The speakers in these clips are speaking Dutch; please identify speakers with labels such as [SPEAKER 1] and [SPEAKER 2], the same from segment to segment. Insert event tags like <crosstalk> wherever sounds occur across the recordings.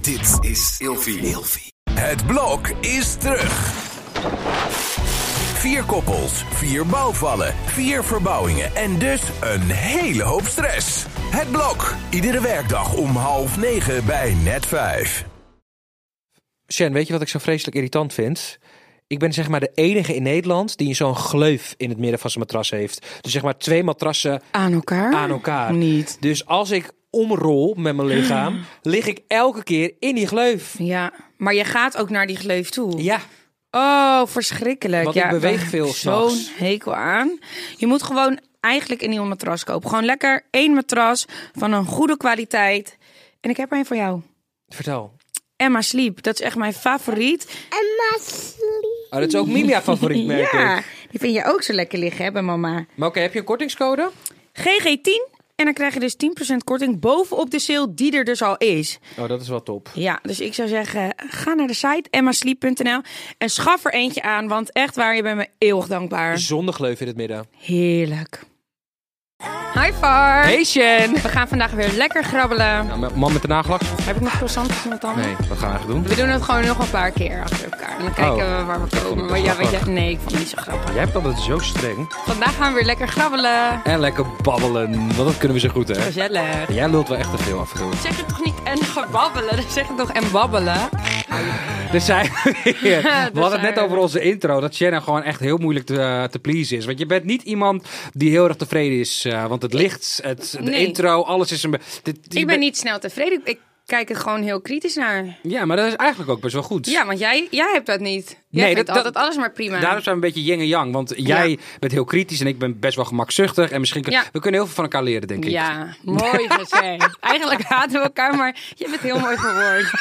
[SPEAKER 1] Dit is Ilfie. Het blok is terug. Vier koppels, vier bouwvallen, vier verbouwingen en dus een hele hoop stress. Het blok, iedere werkdag om half negen bij net vijf.
[SPEAKER 2] Shen, weet je wat ik zo vreselijk irritant vind? Ik ben zeg maar de enige in Nederland die zo'n gleuf in het midden van zijn matras heeft. Dus zeg maar twee matrassen
[SPEAKER 3] Aan elkaar?
[SPEAKER 2] aan elkaar.
[SPEAKER 3] Ah, Niet.
[SPEAKER 2] Dus als ik omrol met mijn
[SPEAKER 3] <gasps>
[SPEAKER 2] lichaam, lig ik elke keer in die gleuf.
[SPEAKER 3] Ja, maar je gaat ook naar die gleuf toe.
[SPEAKER 2] Ja,
[SPEAKER 3] Oh, verschrikkelijk.
[SPEAKER 2] Want
[SPEAKER 3] ja,
[SPEAKER 2] ik beweeg
[SPEAKER 3] daar heb
[SPEAKER 2] veel
[SPEAKER 3] ik Zo'n
[SPEAKER 2] s'nachts.
[SPEAKER 3] hekel aan. Je moet gewoon eigenlijk een nieuw matras kopen. Gewoon lekker één matras van een goede kwaliteit. En ik heb er een voor jou.
[SPEAKER 2] vertel.
[SPEAKER 3] Emma Sleep, dat is echt mijn favoriet.
[SPEAKER 4] Emma Sleep.
[SPEAKER 2] Oh, dat is ook
[SPEAKER 3] <laughs>
[SPEAKER 2] Milia favoriet, merk
[SPEAKER 3] ja,
[SPEAKER 2] ik.
[SPEAKER 3] die vind je ook zo lekker liggen, hè, bij mama.
[SPEAKER 2] Maar oké, heb je een kortingscode?
[SPEAKER 3] GG10. En dan krijg je dus 10% korting bovenop de sale die er dus al is.
[SPEAKER 2] Oh, dat is wel top.
[SPEAKER 3] Ja, dus ik zou zeggen, ga naar de site emmasleep.nl en schaf er eentje aan. Want echt waar, je bent me eeuwig dankbaar.
[SPEAKER 2] Zonder gleuf in het midden.
[SPEAKER 3] Heerlijk. Hi Far.
[SPEAKER 2] Hey Shen!
[SPEAKER 3] We gaan vandaag weer lekker grabbelen.
[SPEAKER 2] Nou, man met de nagelak?
[SPEAKER 3] Heb ik nog croissantjes met tanden?
[SPEAKER 2] Nee, wat gaan we eigenlijk doen?
[SPEAKER 3] We doen het gewoon nog een paar keer achter elkaar. En dan kijken
[SPEAKER 2] Oh.
[SPEAKER 3] we waar we
[SPEAKER 2] vond
[SPEAKER 3] komen.
[SPEAKER 2] het
[SPEAKER 3] Maar ja,
[SPEAKER 2] best wel
[SPEAKER 3] weet je, nee, ik vond het niet zo grappig.
[SPEAKER 2] Jij hebt altijd zo streng.
[SPEAKER 3] Vandaag gaan we weer lekker grabbelen.
[SPEAKER 2] En lekker babbelen, want dat kunnen we zo goed, hè?
[SPEAKER 3] Gezellig.
[SPEAKER 2] Jij lult wel echt te veel af en toe.
[SPEAKER 3] Zeg het toch niet en gebabbelen? <laughs> Zeg het toch en babbelen?
[SPEAKER 2] Daar
[SPEAKER 3] <laughs>
[SPEAKER 2] zijn we weer. We
[SPEAKER 3] Daar
[SPEAKER 2] hadden het
[SPEAKER 3] zijn
[SPEAKER 2] net
[SPEAKER 3] we.
[SPEAKER 2] over onze intro. Dat Shannon gewoon echt heel moeilijk te, eh, te pleasen is. Want je bent niet iemand die heel erg tevreden is. eh, want het licht, het, de
[SPEAKER 3] Nee.
[SPEAKER 2] intro, alles is een... be- dit- je
[SPEAKER 3] Ik ben
[SPEAKER 2] bent-
[SPEAKER 3] niet snel tevreden. Ik kijk er gewoon heel kritisch naar.
[SPEAKER 2] Ja, maar dat is eigenlijk ook best wel goed.
[SPEAKER 3] Ja, want jij, jij hebt dat niet. Jij
[SPEAKER 2] Nee,
[SPEAKER 3] vindt
[SPEAKER 2] dat- dat-
[SPEAKER 3] altijd alles maar prima.
[SPEAKER 2] Daarom zijn we een beetje yin en yang. Want jij
[SPEAKER 3] Ja.
[SPEAKER 2] bent heel kritisch en ik ben best wel gemakzuchtig. En misschien kun-
[SPEAKER 3] Ja.
[SPEAKER 2] we kunnen heel veel van elkaar leren, denk ik.
[SPEAKER 3] Ja,
[SPEAKER 2] <laughs>
[SPEAKER 3] mooi gezegd. Eigenlijk haten we elkaar, maar je bent heel mooi verwoord.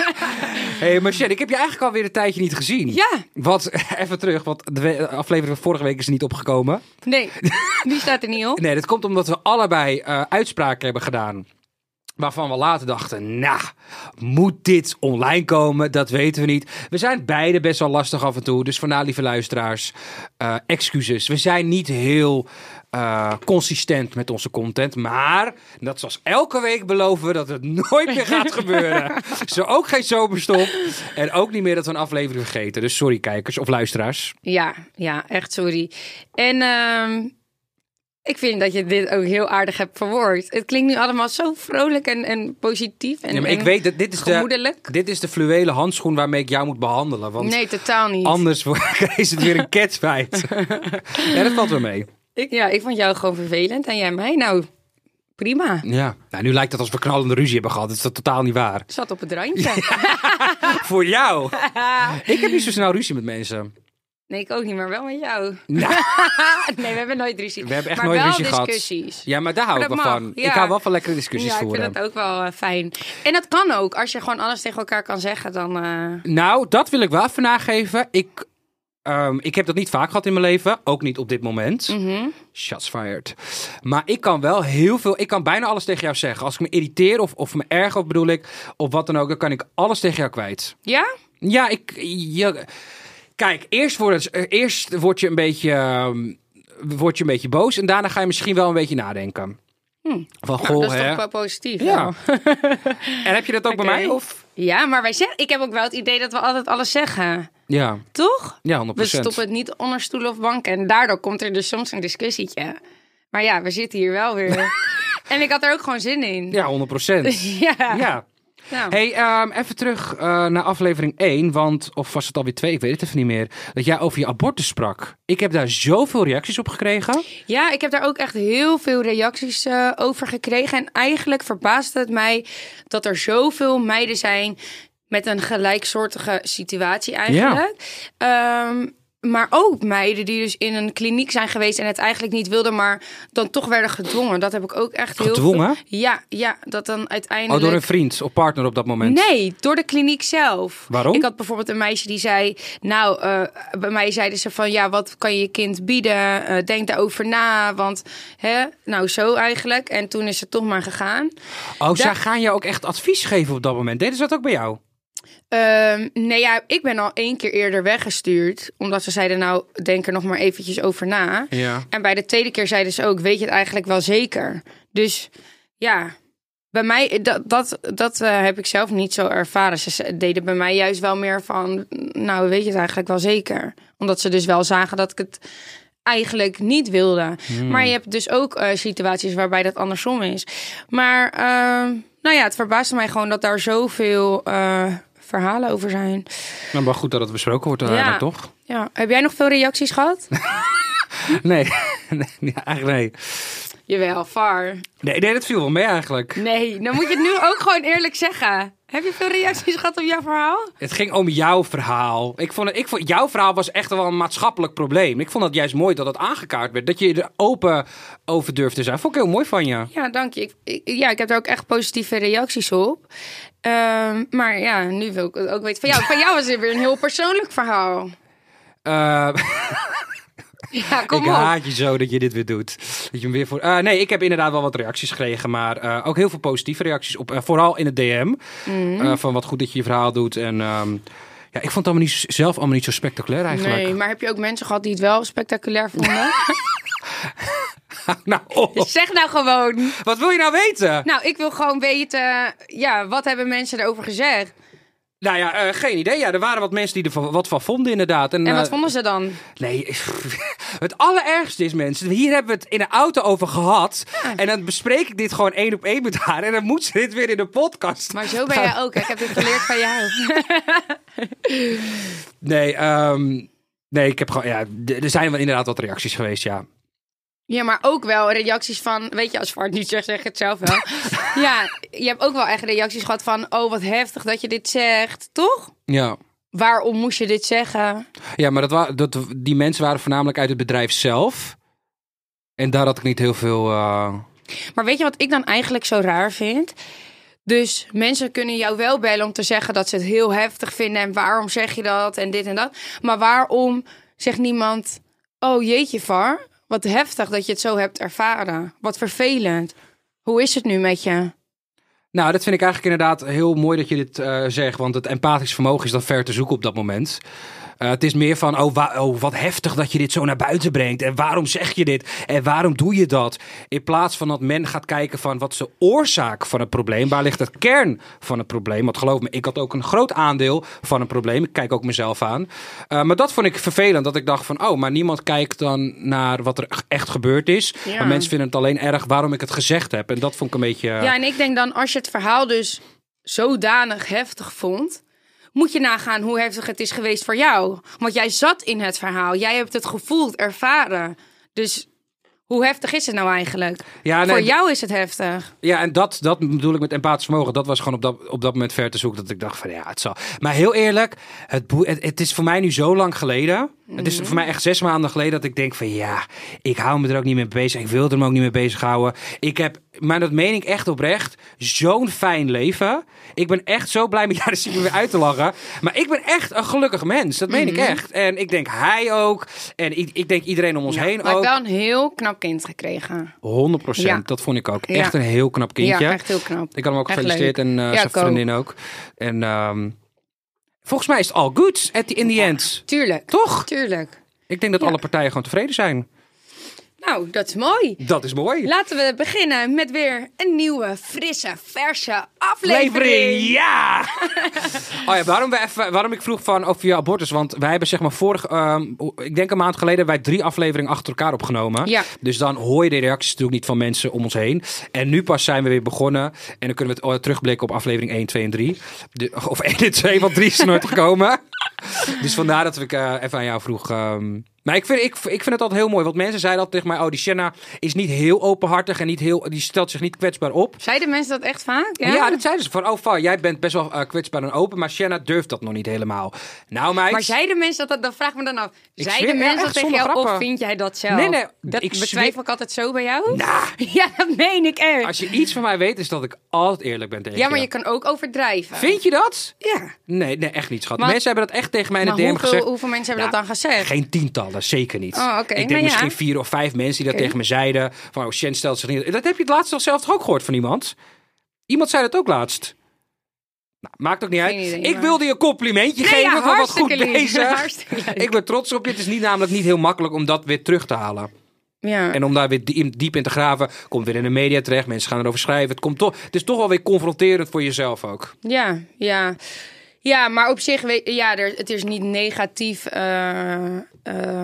[SPEAKER 2] hey, maar Shannon, ik heb je eigenlijk alweer een tijdje niet gezien.
[SPEAKER 3] Ja.
[SPEAKER 2] Wat, <laughs> even terug, want de we- aflevering van vorige week is er niet opgekomen.
[SPEAKER 3] Nee, die staat er niet op.
[SPEAKER 2] Nee, dat komt omdat we allebei eh, uitspraken hebben gedaan. Waarvan we later dachten, nou, moet dit online komen? Dat weten we niet. We zijn beide best wel lastig af en toe. Dus vandaar, lieve luisteraars, eh, excuses. We zijn niet heel eh, consistent met onze content. Maar, dat zoals elke week beloven we dat het nooit meer gaat gebeuren. Zo ook geen zomerstop. En ook niet meer dat we een aflevering vergeten. Dus sorry kijkers of luisteraars.
[SPEAKER 3] Ja, ja, echt sorry. En ehm, ik vind dat je dit ook heel aardig hebt verwoord. Het klinkt nu allemaal zo vrolijk en, en positief. En,
[SPEAKER 2] Ja, maar ik
[SPEAKER 3] en
[SPEAKER 2] weet dat dit is, de,
[SPEAKER 3] gemoedelijk.
[SPEAKER 2] dit is de fluwelen handschoen waarmee ik jou moet behandelen. Want
[SPEAKER 3] Nee, totaal niet.
[SPEAKER 2] Anders <laughs> wordt- is het weer een
[SPEAKER 3] <laughs>
[SPEAKER 2] catfight. ja, dat valt wel mee.
[SPEAKER 3] Ik, ja, ik vond jou gewoon vervelend en jij mij. Nou, prima.
[SPEAKER 2] Ja. Nou, nu lijkt het als we knallende ruzie hebben gehad. Dat is dat totaal niet waar.
[SPEAKER 3] Zat op het randje.
[SPEAKER 2] Voor
[SPEAKER 3] <laughs>
[SPEAKER 2] jou. ik heb niet zo snel ruzie met mensen.
[SPEAKER 3] Nee, ik ook niet, maar wel met jou.
[SPEAKER 2] Nou.
[SPEAKER 3] <laughs> nee, we hebben nooit ruzie.
[SPEAKER 2] We hebben echt
[SPEAKER 3] maar
[SPEAKER 2] nooit
[SPEAKER 3] wel
[SPEAKER 2] ruzie gehad.
[SPEAKER 3] discussies.
[SPEAKER 2] Ja, maar daar hou
[SPEAKER 3] Maar
[SPEAKER 2] ik wel
[SPEAKER 3] dat mag,
[SPEAKER 2] van.
[SPEAKER 3] ja.
[SPEAKER 2] Ik hou wel van lekkere discussies
[SPEAKER 3] ja, ik
[SPEAKER 2] voeren.
[SPEAKER 3] vind dat ook wel eh, fijn. En dat kan ook. Als je gewoon alles tegen elkaar kan zeggen, dan... eh,
[SPEAKER 2] Nou, dat wil ik wel even nageven. Ik, ehm, ik heb dat niet vaak gehad in mijn leven. Ook niet op dit moment.
[SPEAKER 3] Mhm.
[SPEAKER 2] Shots fired. Maar ik kan wel heel veel... Ik kan bijna alles tegen jou zeggen. Als ik me irriteer of, of me erger, of bedoel ik... Of wat dan ook, dan kan ik alles tegen jou kwijt.
[SPEAKER 3] Ja?
[SPEAKER 2] Ja, ik. je- kijk, eerst word, het- eh, eerst word je een beetje. ehm, word je een beetje boos en daarna ga je misschien wel een beetje nadenken. Van goh,
[SPEAKER 3] Nou, dat is
[SPEAKER 2] hè?
[SPEAKER 3] toch wel positief.
[SPEAKER 2] Ja.
[SPEAKER 3] wel.
[SPEAKER 2] <laughs> en heb je dat ook
[SPEAKER 3] Oké.
[SPEAKER 2] bij mij? Of?
[SPEAKER 3] Ja, maar wij zeggen... Ik heb ook wel het idee dat we altijd alles zeggen.
[SPEAKER 2] Ja,
[SPEAKER 3] Toch?
[SPEAKER 2] ja, 100%.
[SPEAKER 3] We stoppen het niet onder stoelen of banken. En daardoor komt er dus soms een discussietje. Maar ja, we zitten hier
[SPEAKER 2] <laughs>
[SPEAKER 3] wel weer. en ik had er ook gewoon zin in.
[SPEAKER 2] Ja, 100%.
[SPEAKER 3] <laughs> Ja.
[SPEAKER 2] ja.
[SPEAKER 3] Nou.
[SPEAKER 2] Hey, ehm, even terug eh, naar aflevering 1, want, of was het alweer 2, ik weet het even niet meer, dat jij over je abortus sprak. Ik heb daar zoveel reacties op gekregen. Oh,
[SPEAKER 3] Ja, ik heb daar ook echt heel veel reacties eh, over gekregen. En eigenlijk verbaasde het mij dat er zoveel meiden zijn met een gelijksoortige situatie eigenlijk. Ehm, maar ook meiden die dus in een kliniek zijn geweest en het eigenlijk niet wilden, maar dan toch werden gedwongen. Dat heb ik ook echt heel
[SPEAKER 2] Gedwongen?
[SPEAKER 3] veel- Ja, ja, dat dan uiteindelijk.
[SPEAKER 2] Oh, door een vriend of partner op dat moment.
[SPEAKER 3] Nee, door de kliniek zelf.
[SPEAKER 2] Waarom?
[SPEAKER 3] Ik had bijvoorbeeld een meisje die zei... Nou, eh, bij mij zeiden ze van... Ja, wat kan je kind bieden? Eh, denk daarover na, want... Hè, nou, zo eigenlijk. En toen is ze toch maar gegaan.
[SPEAKER 2] Oh, zij gaan je ook echt advies geven op dat moment. Deden ze dat ook bij jou?
[SPEAKER 3] Ehm, nee, ja, ik ben al één keer eerder weggestuurd. Omdat ze zeiden, nou, denk er nog maar eventjes over na.
[SPEAKER 2] Ja.
[SPEAKER 3] En bij de tweede keer zeiden ze ook... Weet je het eigenlijk wel zeker? Dus ja... bij mij, dat, dat, dat eh, heb ik zelf niet zo ervaren. Ze ze deden bij mij juist wel meer van, nou weet je het eigenlijk wel zeker. Omdat ze dus wel zagen dat ik het eigenlijk niet wilde.
[SPEAKER 2] Hmm.
[SPEAKER 3] Maar je hebt dus ook eh, situaties waarbij dat andersom is. Maar eh, nou ja, het verbaasde mij gewoon dat daar zoveel eh, verhalen over zijn.
[SPEAKER 2] Nou, maar goed dat het besproken wordt, eh,
[SPEAKER 3] Ja.
[SPEAKER 2] dan toch?
[SPEAKER 3] Ja. Heb jij nog veel reacties
[SPEAKER 2] <laughs>
[SPEAKER 3] gehad?
[SPEAKER 2] Nee, <laughs> nee, nee, eigenlijk nee.
[SPEAKER 3] Jawel, far.
[SPEAKER 2] nee. Nee, dat viel wel mee eigenlijk.
[SPEAKER 3] Nee, dan moet je het nu ook gewoon eerlijk zeggen. Heb je veel reacties gehad op jouw verhaal?
[SPEAKER 2] Het ging om jouw verhaal. Ik vond, het- ik vond, jouw verhaal was echt wel een maatschappelijk probleem. Ik vond het juist mooi dat het aangekaart werd. Dat je er open over durfde te zijn. Vond ik heel mooi van je.
[SPEAKER 3] Ja, dank je. Ik, ik- ja, ik heb daar ook echt positieve reacties op. Ehm, maar ja, nu wil ik het ook weten van jou. Van jou was het weer een heel persoonlijk verhaal.
[SPEAKER 2] Eh, <laughs>
[SPEAKER 3] Ja, kom
[SPEAKER 2] ik
[SPEAKER 3] op.
[SPEAKER 2] haat je zo dat je dit weer doet. Dat je hem weer voor... Eh, nee, ik heb inderdaad wel wat reacties gekregen. Maar eh, ook heel veel positieve reacties. Op, eh, vooral in het DM.
[SPEAKER 3] Mhm.
[SPEAKER 2] Eh, van wat goed dat je je verhaal doet. En ehm, ja, ik vond het allemaal niet, z- zelf allemaal niet zo spectaculair eigenlijk.
[SPEAKER 3] Nee, maar heb je ook mensen gehad die het wel spectaculair
[SPEAKER 2] <laughs>
[SPEAKER 3] vonden?
[SPEAKER 2] nou, oh,
[SPEAKER 3] zeg nou gewoon.
[SPEAKER 2] wat wil je nou weten?
[SPEAKER 3] Nou, ik wil gewoon weten, ja, wat hebben mensen erover gezegd?
[SPEAKER 2] Nou ja, eh, geen idee. Ja, er waren wat mensen die er van- wat van vonden inderdaad. En,
[SPEAKER 3] En wat
[SPEAKER 2] eh,
[SPEAKER 3] vonden ze dan?
[SPEAKER 2] Nee, <laughs> het allerergste is mensen. Hier hebben we het in de auto over gehad. En dan bespreek ik dit gewoon één op één met haar. En dan moet ze dit weer in de podcast.
[SPEAKER 3] Maar zo ben jij ook. hè? Ik heb dit geleerd van jou.
[SPEAKER 2] Nee, ehm, nee, ik heb gewoon. Ja, d- er zijn wel inderdaad wat reacties geweest, ja.
[SPEAKER 3] Ja, maar ook wel reacties van, weet je, als Vart niet zegt, zeg ik het zelf wel. <laughs> ja, je hebt ook wel echt reacties gehad van, oh wat heftig dat je dit zegt, toch?
[SPEAKER 2] Ja.
[SPEAKER 3] Waarom moest je dit zeggen?
[SPEAKER 2] Ja, maar dat wa- dat, die mensen waren voornamelijk uit het bedrijf zelf. En daar had ik niet heel veel. eh,
[SPEAKER 3] Maar weet je wat ik dan eigenlijk zo raar vind? Dus mensen kunnen jou wel bellen om te zeggen dat ze het heel heftig vinden en waarom zeg je dat en dit en dat. Maar waarom zegt niemand, oh jeetje Var, wat heftig dat je het zo hebt ervaren. Wat vervelend. Hoe is het nu met je?
[SPEAKER 2] Nou, dat vind ik eigenlijk inderdaad heel mooi dat je dit eh, zegt. Want het empathisch vermogen is dan ver te zoeken op dat moment. Eh, het is meer van, oh, wa- oh, wat heftig dat je dit zo naar buiten brengt. En waarom zeg je dit? En waarom doe je dat? In plaats van dat men gaat kijken van, wat is de oorzaak van het probleem? Waar ligt het kern van het probleem? Want geloof me, ik had ook een groot aandeel van een probleem. Ik kijk ook mezelf aan. Eh, maar dat vond ik vervelend. Dat ik dacht van, oh, maar niemand kijkt dan naar wat er echt gebeurd is.
[SPEAKER 3] Ja.
[SPEAKER 2] Maar mensen vinden het alleen erg waarom ik het gezegd heb. En dat vond ik een beetje... eh,
[SPEAKER 3] Ja, en ik denk dan, als je het verhaal dus zodanig heftig vond, moet je nagaan hoe heftig het is geweest voor jou. Want jij zat in het verhaal, jij hebt het gevoeld, ervaren. Dus hoe heftig is het nou eigenlijk?
[SPEAKER 2] Ja, nee,
[SPEAKER 3] voor
[SPEAKER 2] d-
[SPEAKER 3] jou is het heftig.
[SPEAKER 2] Ja, en dat, dat bedoel ik met empathisch vermogen. Dat was gewoon op dat, op dat moment ver te zoeken. Dat ik dacht van ja, het zal. Maar heel eerlijk, het, boe- het, het is voor mij nu zo lang geleden. Het
[SPEAKER 3] Mhm.
[SPEAKER 2] is voor mij echt zes maanden geleden dat ik denk van ja, ik hou me er ook niet mee bezig. Ik wil er me ook niet mee bezighouden. Ik heb, maar dat meen ik echt oprecht, zo'n fijn leven. Ik ben echt zo blij met, <laughs> ja, daar zit je weer uit te lachen. Maar ik ben echt een gelukkig mens. Dat
[SPEAKER 3] Mhm.
[SPEAKER 2] meen ik echt. En ik denk hij ook. En ik, ik denk iedereen om ons heen
[SPEAKER 3] Maar ik heb
[SPEAKER 2] ook.
[SPEAKER 3] wel een heel knap kind gekregen.
[SPEAKER 2] 100
[SPEAKER 3] Ja.
[SPEAKER 2] Dat vond ik ook.
[SPEAKER 3] Ja.
[SPEAKER 2] Echt een heel knap kindje.
[SPEAKER 3] Ja, echt heel knap.
[SPEAKER 2] Ik had hem ook
[SPEAKER 3] Echt
[SPEAKER 2] gefeliciteerd
[SPEAKER 3] leuk.
[SPEAKER 2] en eh,
[SPEAKER 3] Ja,
[SPEAKER 2] zijn
[SPEAKER 3] ik ook.
[SPEAKER 2] vriendin ook. En ehm, volgens mij is het all good at the, in the end.
[SPEAKER 3] Tuurlijk.
[SPEAKER 2] Toch?
[SPEAKER 3] Tuurlijk.
[SPEAKER 2] Ik denk dat alle partijen gewoon tevreden zijn.
[SPEAKER 3] Nou, dat is mooi.
[SPEAKER 2] Dat is mooi.
[SPEAKER 3] Laten we beginnen met weer een nieuwe, frisse, verse
[SPEAKER 2] Levering,
[SPEAKER 3] aflevering.
[SPEAKER 2] ja! <laughs> oh ja, waarom, we even, waarom ik vroeg van over je abortus. Want wij hebben zeg maar vorig, ehm, ik denk een maand geleden, hebben wij drie afleveringen achter elkaar opgenomen.
[SPEAKER 3] Ja.
[SPEAKER 2] Dus dan hoor je de reacties natuurlijk niet van mensen om ons heen. En nu pas zijn we weer begonnen. En dan kunnen we het eh, terugblikken op aflevering 1, 2 en 3. De, of 1 en 2, want 3 is er nooit gekomen. <laughs> Dus vandaar dat ik eh, even aan jou vroeg. ehm. maar ik vind, ik, ik vind het altijd heel mooi. Want mensen zeiden altijd tegen mij... Oh, die Shanna is niet heel openhartig. En niet heel, die stelt zich niet kwetsbaar op.
[SPEAKER 3] Zeiden mensen dat echt vaak?
[SPEAKER 2] Ja, dat zeiden ze van, oh, Val, jij bent best wel eh, kwetsbaar en open, maar Shanna durft dat nog niet helemaal. Nou, meid.
[SPEAKER 3] Maar zeiden mensen dat, dat, dat vraag ik me dan af.
[SPEAKER 2] Ik
[SPEAKER 3] Zeiden
[SPEAKER 2] zweer, ja,
[SPEAKER 3] mensen
[SPEAKER 2] echt,
[SPEAKER 3] dat tegen
[SPEAKER 2] zonder
[SPEAKER 3] jou of
[SPEAKER 2] grappen.
[SPEAKER 3] vind jij dat zelf?
[SPEAKER 2] Nee, nee,
[SPEAKER 3] Dat
[SPEAKER 2] ik
[SPEAKER 3] betwijfel
[SPEAKER 2] zweer-
[SPEAKER 3] ik altijd zo bij jou.
[SPEAKER 2] Nou,
[SPEAKER 3] <laughs> Ja, dat meen ik echt.
[SPEAKER 2] als je iets van mij weet, is dat ik altijd eerlijk ben tegen
[SPEAKER 3] Ja, maar je kan ook overdrijven.
[SPEAKER 2] Vind je dat?
[SPEAKER 3] Ja.
[SPEAKER 2] Nee, nee, echt niet, schat.
[SPEAKER 3] Maar-
[SPEAKER 2] mensen hebben dat echt tegen mij in
[SPEAKER 3] Maar
[SPEAKER 2] het DM
[SPEAKER 3] hoeveel,
[SPEAKER 2] gezegd.
[SPEAKER 3] hoeveel mensen hebben
[SPEAKER 2] Nou,
[SPEAKER 3] dat dan gezegd?
[SPEAKER 2] Geen tientallen, zeker niet.
[SPEAKER 3] Oh, oké,
[SPEAKER 2] Ik denk
[SPEAKER 3] nou ja.
[SPEAKER 2] misschien vier of vijf mensen die dat
[SPEAKER 3] Oké.
[SPEAKER 2] tegen me zeiden. Van, oh, Shen stelt zich niet... Dat heb je het laatst al zelf toch ook gehoord van iemand? Iemand zei dat ook laatst. Nou, maakt ook niet uit.
[SPEAKER 3] idee,
[SPEAKER 2] ik
[SPEAKER 3] maar-
[SPEAKER 2] wilde je een complimentje
[SPEAKER 3] Nee,
[SPEAKER 2] geven.
[SPEAKER 3] ja,
[SPEAKER 2] want we waren wat goed
[SPEAKER 3] hartstikke lief.
[SPEAKER 2] bezig.
[SPEAKER 3] Hartstikke lief.
[SPEAKER 2] Ik ben trots op je. Het is niet, namelijk niet heel makkelijk om dat weer terug te halen.
[SPEAKER 3] Ja.
[SPEAKER 2] En om daar weer die- diep in te graven, komt weer in de media terecht. Mensen gaan erover schrijven. Het, komt toch, het is toch wel weer confronterend voor jezelf ook.
[SPEAKER 3] Ja, ja. Ja, maar op zich, weet- ja, er, het is niet negatief. eh, eh,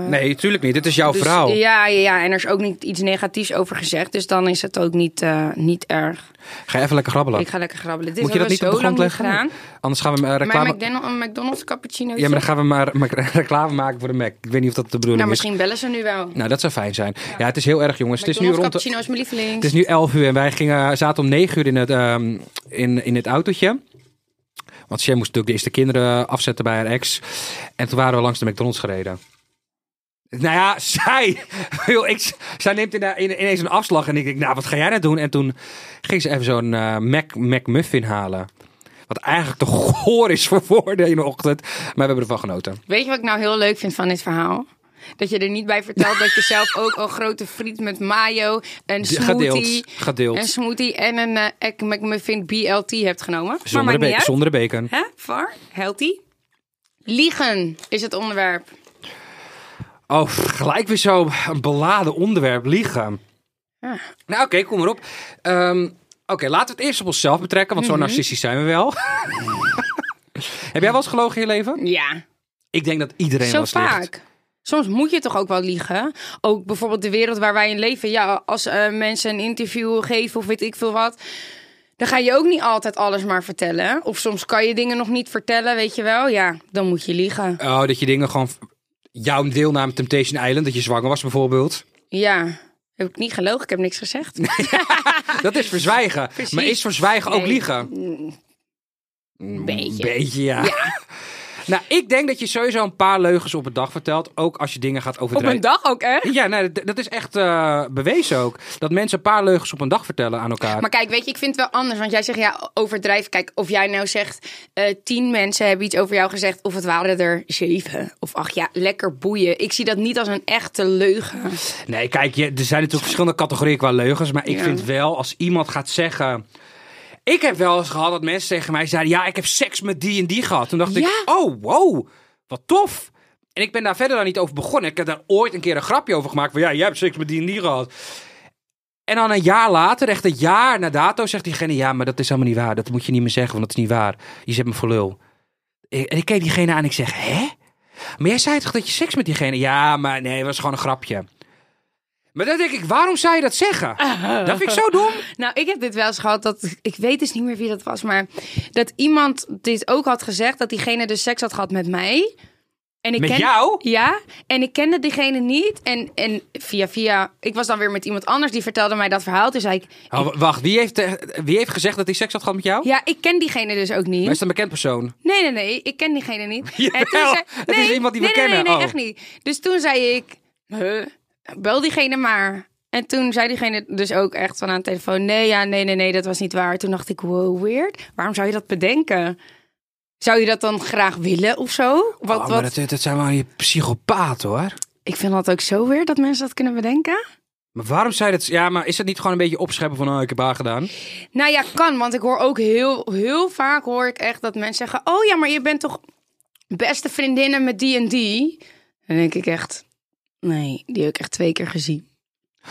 [SPEAKER 2] Nee, natuurlijk niet. Het is jouw
[SPEAKER 3] dus-
[SPEAKER 2] verhaal.
[SPEAKER 3] Ja, ja, ja, en er is ook niet iets negatiefs over gezegd. Dus dan is het ook niet, eh, niet erg.
[SPEAKER 2] Ga even lekker grabbelen.
[SPEAKER 3] Ik ga lekker grabbelen. Dit
[SPEAKER 2] Moet je dat
[SPEAKER 3] hebben
[SPEAKER 2] niet op
[SPEAKER 3] we
[SPEAKER 2] de
[SPEAKER 3] zo lang
[SPEAKER 2] grond
[SPEAKER 3] niet
[SPEAKER 2] leggen?
[SPEAKER 3] gedaan.
[SPEAKER 2] Anders gaan we eh, reclame...
[SPEAKER 3] Mijn McDonald's, een McDonald's cappuccino.
[SPEAKER 2] Ja, maar dan gaan we maar maar <laughs> reclame maken voor de Mac. Ik weet niet of dat de bedoeling
[SPEAKER 3] Nou,
[SPEAKER 2] is.
[SPEAKER 3] misschien bellen ze nu wel.
[SPEAKER 2] Nou, dat zou fijn zijn. Ja, het is heel erg, jongens. Het is nu
[SPEAKER 3] McDonald's
[SPEAKER 2] rond... de-
[SPEAKER 3] cappuccino is mijn lieveling.
[SPEAKER 2] Het is nu 11 uur en wij gingen, eh, zaten om 9 uur in het, ehm, in, in het autootje. Want Shem moest natuurlijk de eerste kinderen afzetten bij haar ex. En toen waren we langs de McDonald's gereden. Nou ja, <laughs> zij. Joh, ik, zij neemt ina- in- ineens een afslag. En ik denk, nou, wat ga jij nou doen? En toen ging ze even zo'n eh Mac, McMuffin halen. Wat eigenlijk te goor is voor <laughs> woorden in de ochtend. Maar we hebben ervan genoten.
[SPEAKER 3] Weet je wat ik nou heel leuk vind van dit verhaal? Dat je er niet bij vertelt dat
[SPEAKER 2] <laughs>
[SPEAKER 3] je zelf ook een grote friet met mayo, een smoothie,
[SPEAKER 2] Gedeeld. Gedeeld.
[SPEAKER 3] een smoothie en een eh, Egg McMuffin BLT hebt genomen. maar
[SPEAKER 2] Zonder,
[SPEAKER 3] maakt
[SPEAKER 2] de be-
[SPEAKER 3] niet uit.
[SPEAKER 2] zonder de bacon.
[SPEAKER 3] Hè? Var? Healthy? Liegen is het onderwerp.
[SPEAKER 2] Oh, pff, gelijk weer zo'n beladen onderwerp, liegen.
[SPEAKER 3] Ja.
[SPEAKER 2] Nou, oké, kom maar op. Ehm, oké, laten we het eerst op onszelf betrekken, want
[SPEAKER 3] Mhm.
[SPEAKER 2] zo narcistisch zijn we
[SPEAKER 3] <laughs>
[SPEAKER 2] wel. Heb jij wel eens gelogen in je leven?
[SPEAKER 3] Ja,
[SPEAKER 2] Ik denk dat iedereen wel
[SPEAKER 3] zo
[SPEAKER 2] eens liegt.
[SPEAKER 3] vaak. Soms moet je toch ook wel liegen. Ook bijvoorbeeld de wereld waar wij in leven. Ja, als eh, mensen een interview geven of weet ik veel wat. Dan ga je ook niet altijd alles maar vertellen. Of soms kan je dingen nog niet vertellen, weet je wel. Ja, dan moet je liegen.
[SPEAKER 2] Oh, dat je dingen gewoon... Jouw deelname Temptation Island, dat je zwanger was bijvoorbeeld.
[SPEAKER 3] Ja, heb ik niet gelogen. Ik heb niks gezegd.
[SPEAKER 2] Dat is verzwijgen. Maar is verzwijgen ook
[SPEAKER 3] Ah. Nee.
[SPEAKER 2] liegen?
[SPEAKER 3] Een beetje.
[SPEAKER 2] Mm, Beetje, ja. <laughs> nou, ik denk dat je sowieso een paar leugens op een dag vertelt. Ook als je dingen gaat
[SPEAKER 3] Op
[SPEAKER 2] overdrijven.
[SPEAKER 3] een dag ook, hè?
[SPEAKER 2] Ja, nee, dat- dat is echt eh, bewezen ook. Dat mensen een paar leugens op een dag vertellen aan elkaar.
[SPEAKER 3] Maar kijk, weet je, ik vind het wel anders. Want jij zegt ja, overdrijf. Kijk, of jij nou zegt eh, tien mensen hebben iets over jou gezegd. Of het waren er zeven of acht. Ja, lekker boeien. Ik zie dat niet als een echte leugen.
[SPEAKER 2] Nee, kijk, je, er zijn natuurlijk verschillende categorieën qua leugens. Maar ik
[SPEAKER 3] Ja.
[SPEAKER 2] vind wel, als iemand gaat zeggen... Ik heb wel eens gehad dat mensen tegen mij zeiden... Ja, ik heb seks met die en die gehad. Toen dacht ik,
[SPEAKER 3] Ja.
[SPEAKER 2] oh, wow, wat tof. En ik ben daar verder dan niet over begonnen. Ik heb daar ooit een keer een grapje over gemaakt. Van ja, jij hebt seks met die en die gehad. En dan een jaar later, echt een jaar na dato, zegt diegene... Ja, maar dat is helemaal niet waar. Dat moet je niet meer zeggen, want dat is niet waar. Je zet me voor lul. Eh, En ik keek diegene aan en ik zeg, hè? Maar jij zei toch dat je seks met diegene... Ja, maar nee, dat was gewoon een grapje. Maar dan denk ik, waarom zou je dat zeggen? Dat vind ik zo dom.
[SPEAKER 3] Nou, ik heb dit wel eens gehad dat ik weet dus niet meer wie dat was, maar dat iemand dit ook had gezegd dat diegene dus seks had gehad met mij. En ik
[SPEAKER 2] Met jou?
[SPEAKER 3] Ja, en ik kende diegene niet. En, en via via, ik was dan weer met iemand anders die vertelde mij dat verhaal. Toen zei ik,
[SPEAKER 2] Oh, w- wacht, wie heeft, eh, wie heeft gezegd dat hij seks had gehad met jou?
[SPEAKER 3] ja, ik ken diegene dus ook niet.
[SPEAKER 2] Maar is dat een bekend persoon?
[SPEAKER 3] Nee, nee, nee. Ik ken diegene
[SPEAKER 2] <laughs>
[SPEAKER 3] niet.
[SPEAKER 2] Jawel, het is iemand die we
[SPEAKER 3] nee, nee,
[SPEAKER 2] kennen.
[SPEAKER 3] Nee, nee,
[SPEAKER 2] Oh.
[SPEAKER 3] echt niet. Dus toen zei ik, huh, bel diegene maar. En toen zei diegene dus ook echt van aan de telefoon, nee, ja, nee, nee, nee, dat was niet waar. Toen dacht ik, wow, weird. Waarom zou je dat bedenken? Zou je dat dan graag willen of zo? Wat,
[SPEAKER 2] oh, maar
[SPEAKER 3] wat?
[SPEAKER 2] Dat, dat zijn wel je psychopaat hoor.
[SPEAKER 3] Ik vind dat ook zo weird dat mensen dat kunnen bedenken.
[SPEAKER 2] Maar waarom zei dat? Ja, maar is dat niet gewoon een beetje opscheppen van, oh, ik heb haar gedaan?
[SPEAKER 3] Nou ja, kan, want ik hoor ook heel, heel vaak hoor ik echt dat mensen zeggen, oh ja, maar je bent toch beste vriendinnen met die en die. Dan denk ik echt, nee, die heb ik echt twee keer gezien.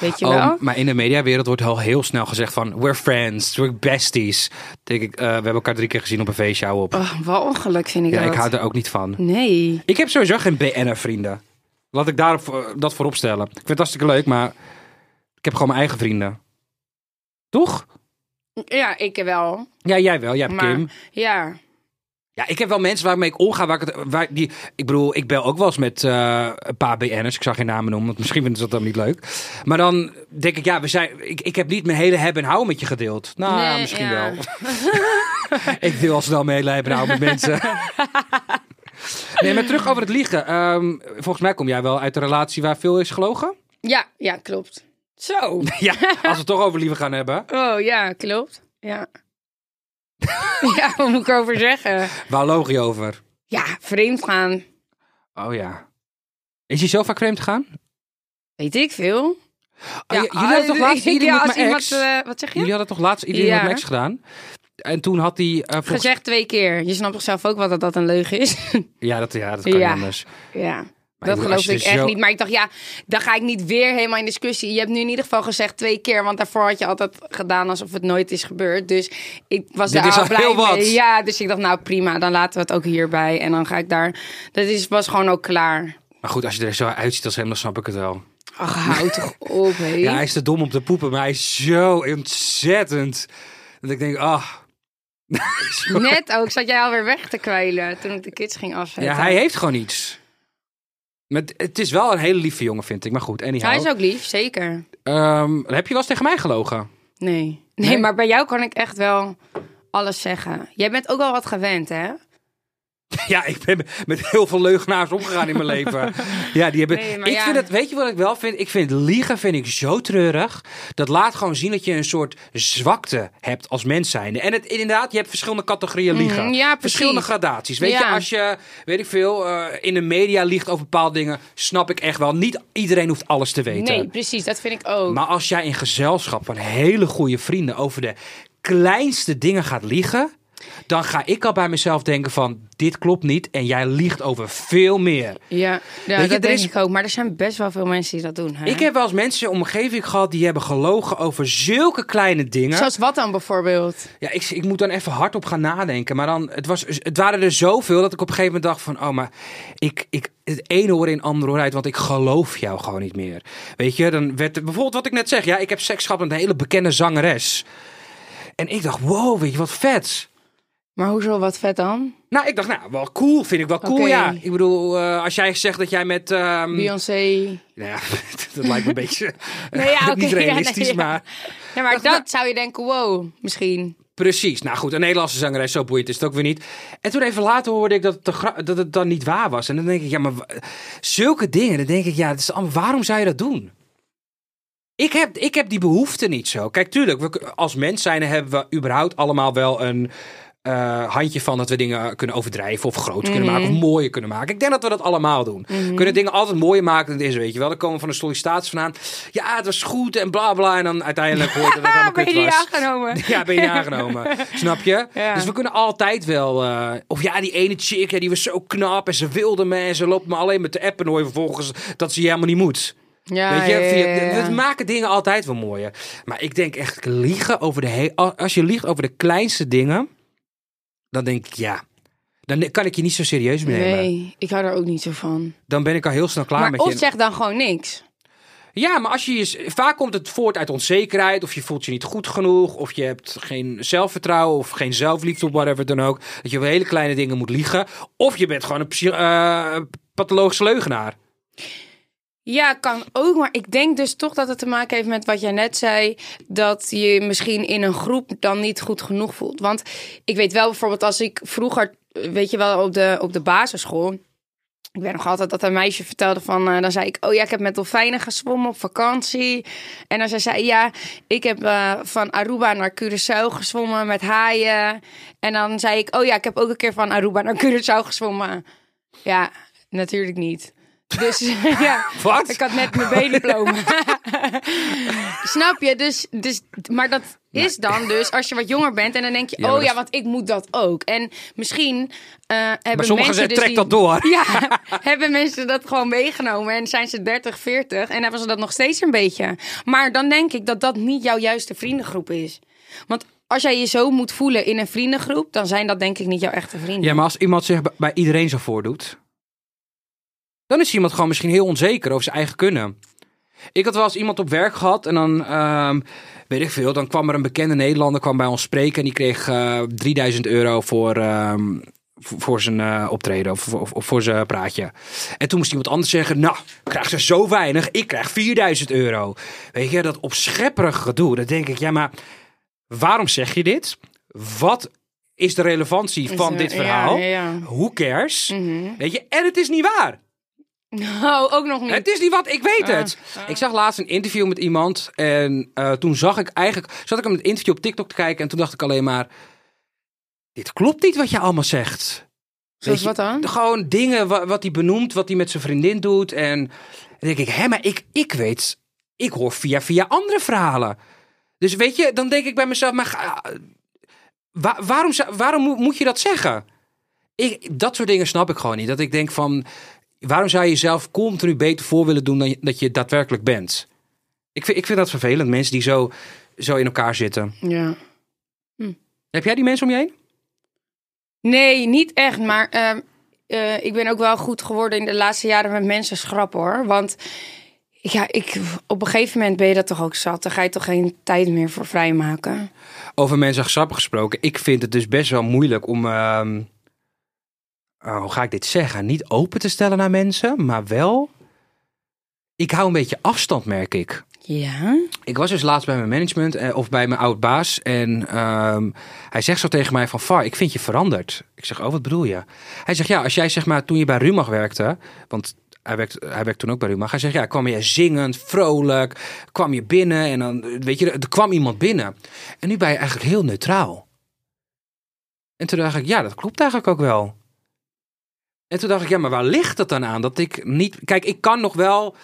[SPEAKER 3] Weet je wel?
[SPEAKER 2] Oh, maar in de mediawereld wordt al heel snel gezegd van, we're friends, we're besties. Dan Denk ik, eh, we hebben elkaar drie keer gezien op een feestje, hou op.
[SPEAKER 3] Oh, wat ongeluk vind ik
[SPEAKER 2] ja,
[SPEAKER 3] dat.
[SPEAKER 2] ik hou er ook niet van.
[SPEAKER 3] Nee.
[SPEAKER 2] Ik heb sowieso geen BN'er-vrienden. Laat ik daar dat voorop stellen. Ik vind het hartstikke leuk, maar ik heb gewoon mijn eigen vrienden. Toch?
[SPEAKER 3] Ja, ik wel.
[SPEAKER 2] Ja, jij wel. Jij hebt
[SPEAKER 3] Maar
[SPEAKER 2] Kim.
[SPEAKER 3] ja.
[SPEAKER 2] Ja, ik heb wel mensen waarmee ik omga. Waar ik, het, waar die, ik bedoel, ik bel ook wel eens met eh, een paar BN'ers. Ik zag geen namen noemen, want misschien vinden ze dat dan niet leuk. Maar dan denk ik, ja, we zijn, ik, ik heb niet mijn hele hebben en houden met je gedeeld. Nou, ja,
[SPEAKER 3] Nee,
[SPEAKER 2] misschien
[SPEAKER 3] ja.
[SPEAKER 2] wel. <laughs> ik deel al snel mijn hele hebben en houden met
[SPEAKER 3] <laughs>
[SPEAKER 2] mensen. nee, maar terug over het liegen. Ehm, volgens mij kom jij wel uit een relatie waar veel is gelogen.
[SPEAKER 3] Ja, ja, klopt. Zo.
[SPEAKER 2] Ja, als we het toch over liegen gaan hebben.
[SPEAKER 3] Oh ja, klopt. Ja. <laughs> ja, wat moet ik erover zeggen?
[SPEAKER 2] Waar loog je over?
[SPEAKER 3] Ja, vreemd gaan.
[SPEAKER 2] Oh ja. Is je zo vaak vreemd gegaan?
[SPEAKER 3] Weet ik veel.
[SPEAKER 2] Oh, j- jullie hadden toch
[SPEAKER 3] <laughs>
[SPEAKER 2] laatst
[SPEAKER 3] ja, ah,
[SPEAKER 2] iedereen met
[SPEAKER 3] als
[SPEAKER 2] mijn
[SPEAKER 3] iemand,
[SPEAKER 2] ex?
[SPEAKER 3] eh, wat zeg je?
[SPEAKER 2] Jullie hadden toch laatst iedereen
[SPEAKER 3] Ja.
[SPEAKER 2] met mijn ex gedaan? En toen had hij... eh, volgens-
[SPEAKER 3] Gezegd twee keer. Je snapt toch zelf ook wel dat dat een leugen is? <laughs>
[SPEAKER 2] Ja, dat, ja, dat kan niet
[SPEAKER 3] Ja.
[SPEAKER 2] anders.
[SPEAKER 3] ja. dat
[SPEAKER 2] bedoel, als
[SPEAKER 3] geloof
[SPEAKER 2] je dus
[SPEAKER 3] ik
[SPEAKER 2] dit
[SPEAKER 3] echt
[SPEAKER 2] zo-
[SPEAKER 3] niet. Maar ik dacht, ja, dan ga ik niet weer helemaal in discussie. Je hebt nu in ieder geval gezegd twee keer, want daarvoor had je altijd gedaan alsof het nooit is gebeurd. Dus ik was
[SPEAKER 2] Dit
[SPEAKER 3] daar
[SPEAKER 2] is
[SPEAKER 3] al
[SPEAKER 2] al
[SPEAKER 3] blij
[SPEAKER 2] heel
[SPEAKER 3] mee.
[SPEAKER 2] wat.
[SPEAKER 3] Ja, dus ik dacht, nou prima, dan laten we het ook hierbij. En dan ga ik daar. Dat is, was gewoon ook klaar.
[SPEAKER 2] Maar goed, als je er zo uitziet als hem, dan snap ik het wel.
[SPEAKER 3] Ach, houd
[SPEAKER 2] <laughs>
[SPEAKER 3] toch op, hé.
[SPEAKER 2] Ja, hij is te dom om te poepen, maar hij is zo ontzettend. Dat ik denk, ah.
[SPEAKER 3] Net ook zat jij alweer weg te kwijlen toen ik de kids ging afzetten.
[SPEAKER 2] Ja, hij heeft gewoon iets. Met, het is wel een hele lieve jongen, vind ik. Maar goed, anyhow.
[SPEAKER 3] Hij is ook lief, zeker.
[SPEAKER 2] Ehm, heb je wel eens tegen mij gelogen?
[SPEAKER 3] Nee. nee.
[SPEAKER 2] Nee?
[SPEAKER 3] maar bij jou kan ik echt wel alles zeggen. Jij bent ook wel wat gewend, hè?
[SPEAKER 2] <laughs> Ja, ik ben met heel veel leugenaars omgegaan in mijn leven. Ja, die hebben.
[SPEAKER 3] Nee, maar
[SPEAKER 2] ik
[SPEAKER 3] ja.
[SPEAKER 2] vind het, weet je wat ik wel vind? Ik vind liegen vind ik zo treurig. Dat laat gewoon zien dat je een soort zwakte hebt als mens zijnde. En het, inderdaad, je hebt verschillende categorieën liegen.
[SPEAKER 3] Mhm, ja, precies.
[SPEAKER 2] verschillende gradaties. Weet je,
[SPEAKER 3] Ja.
[SPEAKER 2] als je, weet ik veel, eh, in de media liegt over bepaalde dingen, snap ik echt wel. Niet iedereen hoeft alles te weten.
[SPEAKER 3] Nee, precies. Dat vind ik ook.
[SPEAKER 2] eh, Maar als jij in gezelschap van hele goede vrienden over de kleinste dingen gaat liegen, dan ga ik al bij mezelf denken van dit klopt niet en jij liegt over veel meer.
[SPEAKER 3] Ja,
[SPEAKER 2] Weet
[SPEAKER 3] ja
[SPEAKER 2] je,
[SPEAKER 3] dat
[SPEAKER 2] er
[SPEAKER 3] denk
[SPEAKER 2] is-
[SPEAKER 3] ik ook. Maar er zijn best wel veel mensen die dat doen. Hè?
[SPEAKER 2] Ik heb wel eens mensen in mijn omgeving gehad die hebben gelogen over zulke kleine dingen.
[SPEAKER 3] Zoals wat dan bijvoorbeeld?
[SPEAKER 2] Ja, ik, ik moet dan even hardop gaan nadenken. Maar dan, het, was, het waren er zoveel dat ik op een gegeven moment dacht van... oh, maar ik, ik, het ene hoor in het andere hoor uit, want ik geloof jou gewoon niet meer. Weet je, dan werd er- bijvoorbeeld wat ik net zeg. Ja, ik heb seks gehad met een hele bekende zangeres. En ik dacht, wow, weet je, wat vet.
[SPEAKER 3] Maar hoezo wat vet dan?
[SPEAKER 2] Nou, ik dacht, nou, wel cool, vind ik wel cool,
[SPEAKER 3] Oké.
[SPEAKER 2] ja. Ik bedoel, eh, als jij zegt dat jij met... ehm, <laughs>
[SPEAKER 3] Beyoncé.
[SPEAKER 2] nou ja, <laughs> dat lijkt me een beetje
[SPEAKER 3] Nee,
[SPEAKER 2] <laughs>
[SPEAKER 3] ja, oké,
[SPEAKER 2] niet
[SPEAKER 3] <laughs> ja, nee,
[SPEAKER 2] realistisch,
[SPEAKER 3] ja.
[SPEAKER 2] maar...
[SPEAKER 3] Ja, maar dat zou je denken, wow, misschien.
[SPEAKER 2] Precies. Nou goed, een Nederlandse zangeres, zo boeiend is het ook weer niet. En toen even later hoorde ik dat het, te gra- dat het dan niet waar was. En dan denk ik, ja, maar wa- zulke dingen, dan denk ik, ja, dat is allemaal- waarom zou je dat doen? Ik heb, ik heb die behoefte niet zo. Kijk, tuurlijk, we, k- als mens zijn hebben we überhaupt allemaal wel een eh, handje van dat we dingen kunnen overdrijven of groot kunnen
[SPEAKER 3] Mhm.
[SPEAKER 2] maken of mooier kunnen maken. Ik denk dat we dat allemaal doen. We kunnen dingen altijd mooier maken dan het is, weet je wel. Dan komen we van een sollicitatie vandaan. Ja, het was goed en bla bla. En dan uiteindelijk hoort dat
[SPEAKER 3] <laughs>
[SPEAKER 2] het
[SPEAKER 3] Ah,
[SPEAKER 2] helemaal
[SPEAKER 3] ben je
[SPEAKER 2] kut
[SPEAKER 3] die
[SPEAKER 2] was. <laughs>
[SPEAKER 3] aangenomen?
[SPEAKER 2] Ja, ben je aangenomen. Snap je?
[SPEAKER 3] Ja.
[SPEAKER 2] Dus we kunnen altijd wel. eh, of ja, die ene chick, ja, die was zo knap en ze wilde me en ze loopt me alleen met de app en hoor je vervolgens dat ze je helemaal niet moet.
[SPEAKER 3] Ja,
[SPEAKER 2] Weet je,
[SPEAKER 3] ja,
[SPEAKER 2] via-
[SPEAKER 3] ja, ja.
[SPEAKER 2] we maken dingen altijd wel mooier. Maar ik denk echt, liegen over de he- al- Als je liegt over de kleinste dingen, dan denk ik ja. Dan kan ik je niet zo serieus meenemen.
[SPEAKER 3] Nee, ik hou daar ook niet zo van.
[SPEAKER 2] Dan ben ik al heel snel klaar
[SPEAKER 3] maar
[SPEAKER 2] met je.
[SPEAKER 3] of zeg dan gewoon niks.
[SPEAKER 2] Ja, maar als je je, s- vaak komt het voort uit onzekerheid. Of je voelt je niet goed genoeg. Of je hebt geen zelfvertrouwen. Of geen zelfliefde. Of whatever dan ook. Dat je over hele kleine dingen moet liegen. Of je bent gewoon een psy- eh, pathologische leugenaar.
[SPEAKER 3] Ja, kan ook. Maar ik denk dus toch dat het te maken heeft met wat jij net zei. Dat je misschien in een groep dan niet goed genoeg voelt. Want ik weet wel bijvoorbeeld als ik vroeger, eh, weet je wel, op de, op de basisschool. Ik weet nog altijd dat een meisje vertelde van... eh, dan zei ik, oh ja, ik heb met dolfijnen gezwommen op vakantie. En dan zei zij, ja, ik heb eh, van Aruba naar Curaçao gezwommen met haaien. En dan zei ik, oh ja, ik heb ook een keer van Aruba naar <laughs> Curaçao gezwommen. Ja, natuurlijk niet. Dus <laughs> ja,
[SPEAKER 2] Wat?
[SPEAKER 3] ik had net mijn
[SPEAKER 2] <laughs>
[SPEAKER 3] B-diploma. Snap je? Dus, dus, maar dat is dan dus als je wat jonger bent en dan denk je,
[SPEAKER 2] Ja, maar
[SPEAKER 3] oh
[SPEAKER 2] dat
[SPEAKER 3] ja,
[SPEAKER 2] is-
[SPEAKER 3] want ik moet dat ook. En misschien eh hebben
[SPEAKER 2] Maar sommigen
[SPEAKER 3] mensen
[SPEAKER 2] zeggen,
[SPEAKER 3] dus
[SPEAKER 2] trek
[SPEAKER 3] die-
[SPEAKER 2] dat door.
[SPEAKER 3] ja,
[SPEAKER 2] <laughs>
[SPEAKER 3] hebben mensen dat gewoon meegenomen en zijn ze 30, 40 en hebben ze dat nog steeds een beetje. Maar dan denk ik dat dat niet jouw juiste vriendengroep is. Want als jij je zo moet voelen in een vriendengroep, dan zijn dat denk ik niet jouw echte vrienden.
[SPEAKER 2] Ja, maar als iemand zich b- bij iedereen zo voordoet. Dan is iemand gewoon misschien heel onzeker over zijn eigen kunnen. Ik had wel eens iemand op werk gehad en dan, ehm, weet ik veel, dan kwam er een bekende Nederlander kwam bij ons spreken en die kreeg eh 3000 euro voor, ehm, voor, voor zijn eh, optreden of, of, of voor zijn praatje. En toen moest iemand anders zeggen, nou, krijgt ze zo weinig, ik krijg 4000 euro. Weet je, dat opschepperig gedoe, dan denk ik, ja maar waarom zeg je dit? Wat is de relevantie van
[SPEAKER 3] er-
[SPEAKER 2] dit
[SPEAKER 3] ja,
[SPEAKER 2] verhaal?
[SPEAKER 3] ja, Mhm. ja.
[SPEAKER 2] Hoe cares? Weet je, en het is niet waar.
[SPEAKER 3] Nou, ook nog niet. Ah,
[SPEAKER 2] Het is niet wat, ik weet het. Ik zag laatst een interview met iemand. En eh, toen zag ik eigenlijk. zat ik hem het interview op TikTok te kijken. En toen dacht ik alleen maar. Dit klopt niet wat je allemaal zegt.
[SPEAKER 3] Zoals
[SPEAKER 2] Weet je,
[SPEAKER 3] wat dan?
[SPEAKER 2] Gewoon dingen wa- wat hij benoemt. Wat hij met zijn vriendin doet. En dan denk ik, hè, maar ik, ik weet. Ik hoor via, via andere verhalen. Dus weet je, dan denk ik bij mezelf. Maar ga- wa- waarom, zou- waarom mo- moet je dat zeggen? Ik, dat soort dingen snap ik gewoon niet. Dat ik denk van Waarom zou je jezelf continu beter voor willen doen dan je- dat je daadwerkelijk bent? Ik vind, ik vind dat vervelend, mensen die zo, zo in elkaar zitten.
[SPEAKER 3] Ja.
[SPEAKER 2] Heb jij die mensen om je heen?
[SPEAKER 3] Nee, niet echt. Maar ehm, eh, ik ben ook wel goed geworden in de laatste jaren met mensen schrappen hoor. Want ja, ik, op een gegeven moment ben je dat toch ook zat. Dan ga je toch geen tijd meer voor vrijmaken.
[SPEAKER 2] Over mensen grappig gesproken. Ik vind het dus best wel moeilijk om. ehm, oh, hoe ga ik dit zeggen? Niet open te stellen naar mensen, maar wel. Ik hou een beetje afstand, merk ik.
[SPEAKER 3] Ja?
[SPEAKER 2] Ik was dus laatst bij mijn management eh, of bij mijn oud baas. En ehm, hij zegt zo tegen mij van... Far, ik vind je veranderd. Ik zeg, oh, wat bedoel je? Hij zegt, ja, als jij zeg maar toen je bij Rumach werkte... Want hij werkte, hij werkte toen ook bij Rumach. Hij zegt, ja, kwam je zingend, vrolijk. Kwam je binnen en dan, eh, weet je, er kwam iemand binnen. En nu ben je eigenlijk heel neutraal. En toen dacht ik, ja, dat klopt eigenlijk ook wel. En toen dacht ik, ja, maar waar ligt dat dan aan? Dat ik niet... Kijk, ik kan nog wel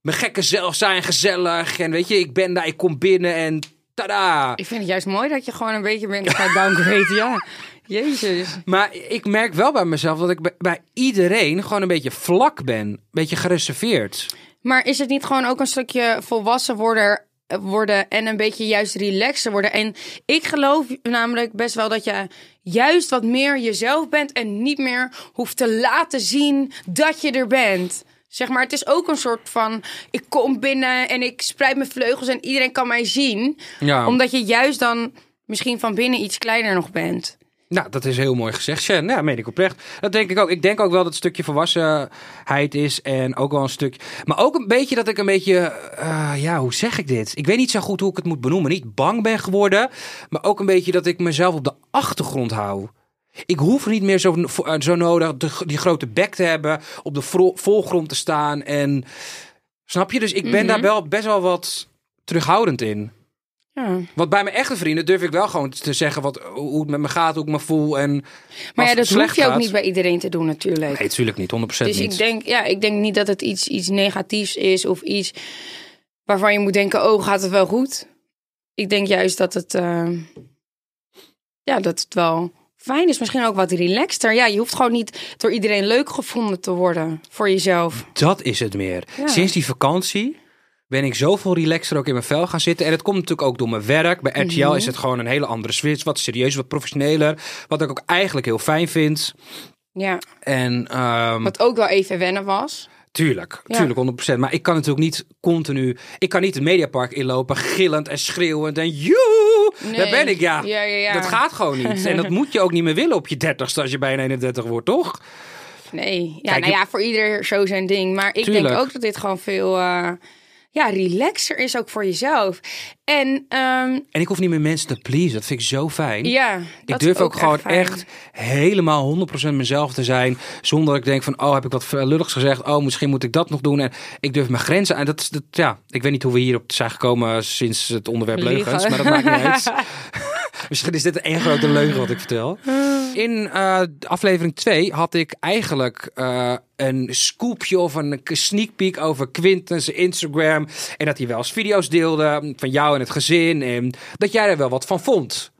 [SPEAKER 2] mijn gekke zelf zijn, gezellig. En weet je, ik ben daar, ik kom binnen en tada.
[SPEAKER 3] Ik vind het juist mooi dat je gewoon een beetje bent gaan downgraden. Ja. Jezus.
[SPEAKER 2] Maar ik merk wel bij mezelf dat ik bij- bij iedereen gewoon een beetje vlak ben. Een beetje gereserveerd.
[SPEAKER 3] Maar is het niet gewoon ook een stukje volwassen worden, worden en een beetje juist relaxer worden? En ik geloof namelijk best wel dat je juist wat meer jezelf bent en niet meer hoeft te laten zien dat je er bent. Zeg maar, het is ook een soort van, ik kom binnen en ik spreid mijn vleugels en iedereen kan mij zien.
[SPEAKER 2] Ja,
[SPEAKER 3] Omdat je juist dan misschien van binnen iets kleiner nog bent.
[SPEAKER 2] nou, dat is heel mooi gezegd. Shen, ja, meen ik oprecht. Dat denk ik ook. Ik denk ook wel dat het stukje volwassenheid is. En ook wel een stuk... Maar ook een beetje dat ik een beetje... eh, ja, hoe zeg ik dit? Ik weet niet zo goed hoe ik het moet benoemen. Niet bang ben geworden. Maar ook een beetje dat ik mezelf op de achtergrond hou. Ik hoef niet meer zo, eh, zo nodig de- die grote bek te hebben, op de vro- voorgrond te staan. En snap je? Dus ik ben daar wel best wel wat terughoudend in.
[SPEAKER 3] Ja.
[SPEAKER 2] Want bij mijn echte vrienden durf ik wel gewoon te zeggen wat, hoe het met me gaat, hoe ik me voel. En
[SPEAKER 3] Maar
[SPEAKER 2] als
[SPEAKER 3] ja,
[SPEAKER 2] het
[SPEAKER 3] dat
[SPEAKER 2] slecht
[SPEAKER 3] hoef je ook
[SPEAKER 2] gaat-
[SPEAKER 3] niet bij iedereen te doen natuurlijk.
[SPEAKER 2] Nee, natuurlijk niet, 100%
[SPEAKER 3] Dus
[SPEAKER 2] niet.
[SPEAKER 3] ik denk, ja, ik denk niet dat het iets, iets negatiefs is of iets waarvan je moet denken, oh, gaat het wel goed? Ik denk juist dat het, eh, ja, dat het wel fijn is. Misschien ook wat relaxter. Ja, je hoeft gewoon niet door iedereen leuk gevonden te worden voor jezelf.
[SPEAKER 2] Dat is het meer.
[SPEAKER 3] Ja.
[SPEAKER 2] Sinds die vakantie ben ik zoveel relaxer ook in mijn vel gaan zitten. En dat komt natuurlijk ook door mijn werk. Bij RTL
[SPEAKER 3] Mhm.
[SPEAKER 2] is het gewoon een hele andere switch. Wat serieus, wat professioneler. Wat ik ook eigenlijk heel fijn vind.
[SPEAKER 3] Ja,
[SPEAKER 2] En ehm,
[SPEAKER 3] wat ook wel even wennen was.
[SPEAKER 2] Tuurlijk,
[SPEAKER 3] Ja.
[SPEAKER 2] tuurlijk, 100%. Maar ik kan natuurlijk niet continu... Ik kan niet het Mediapark inlopen gillend en schreeuwend en joe, daar
[SPEAKER 3] Nee.
[SPEAKER 2] ben ik. Ja,
[SPEAKER 3] Ja, ja, ja.
[SPEAKER 2] dat gaat gewoon
[SPEAKER 3] <laughs>
[SPEAKER 2] niet. en dat moet je ook niet meer willen op je dertigste als je bijna 31 wordt, toch?
[SPEAKER 3] Nee, ja,
[SPEAKER 2] Kijk,
[SPEAKER 3] nou
[SPEAKER 2] je-
[SPEAKER 3] ja, voor ieder zo zijn ding. Maar ik
[SPEAKER 2] Tuurlijk.
[SPEAKER 3] denk ook dat dit gewoon veel eh, ja, relaxer is ook voor jezelf. En ehm,
[SPEAKER 2] En ik hoef niet meer mensen te pleasen. Dat vind ik zo fijn.
[SPEAKER 3] ja,
[SPEAKER 2] ik
[SPEAKER 3] dat is
[SPEAKER 2] durf ook, gewoon
[SPEAKER 3] fijn.
[SPEAKER 2] echt helemaal 100% mezelf te zijn. Zonder dat ik denk van, oh, heb ik wat lulligs gezegd? Oh, misschien moet ik dat nog doen. En ik durf mijn grenzen aan. Dat is, dat, ja, ik weet niet hoe we hierop zijn gekomen sinds het onderwerp
[SPEAKER 3] Liegen.
[SPEAKER 2] leugens. Maar dat maakt niet uit.
[SPEAKER 3] <laughs>
[SPEAKER 2] Misschien is dit één grote leugen wat ik vertel. In eh, aflevering 2 had ik eigenlijk eh, een scoopje of een sneak peek over Quinten's Instagram. En dat hij wel eens video's deelde van jou en het gezin. En dat jij er wel wat van vond.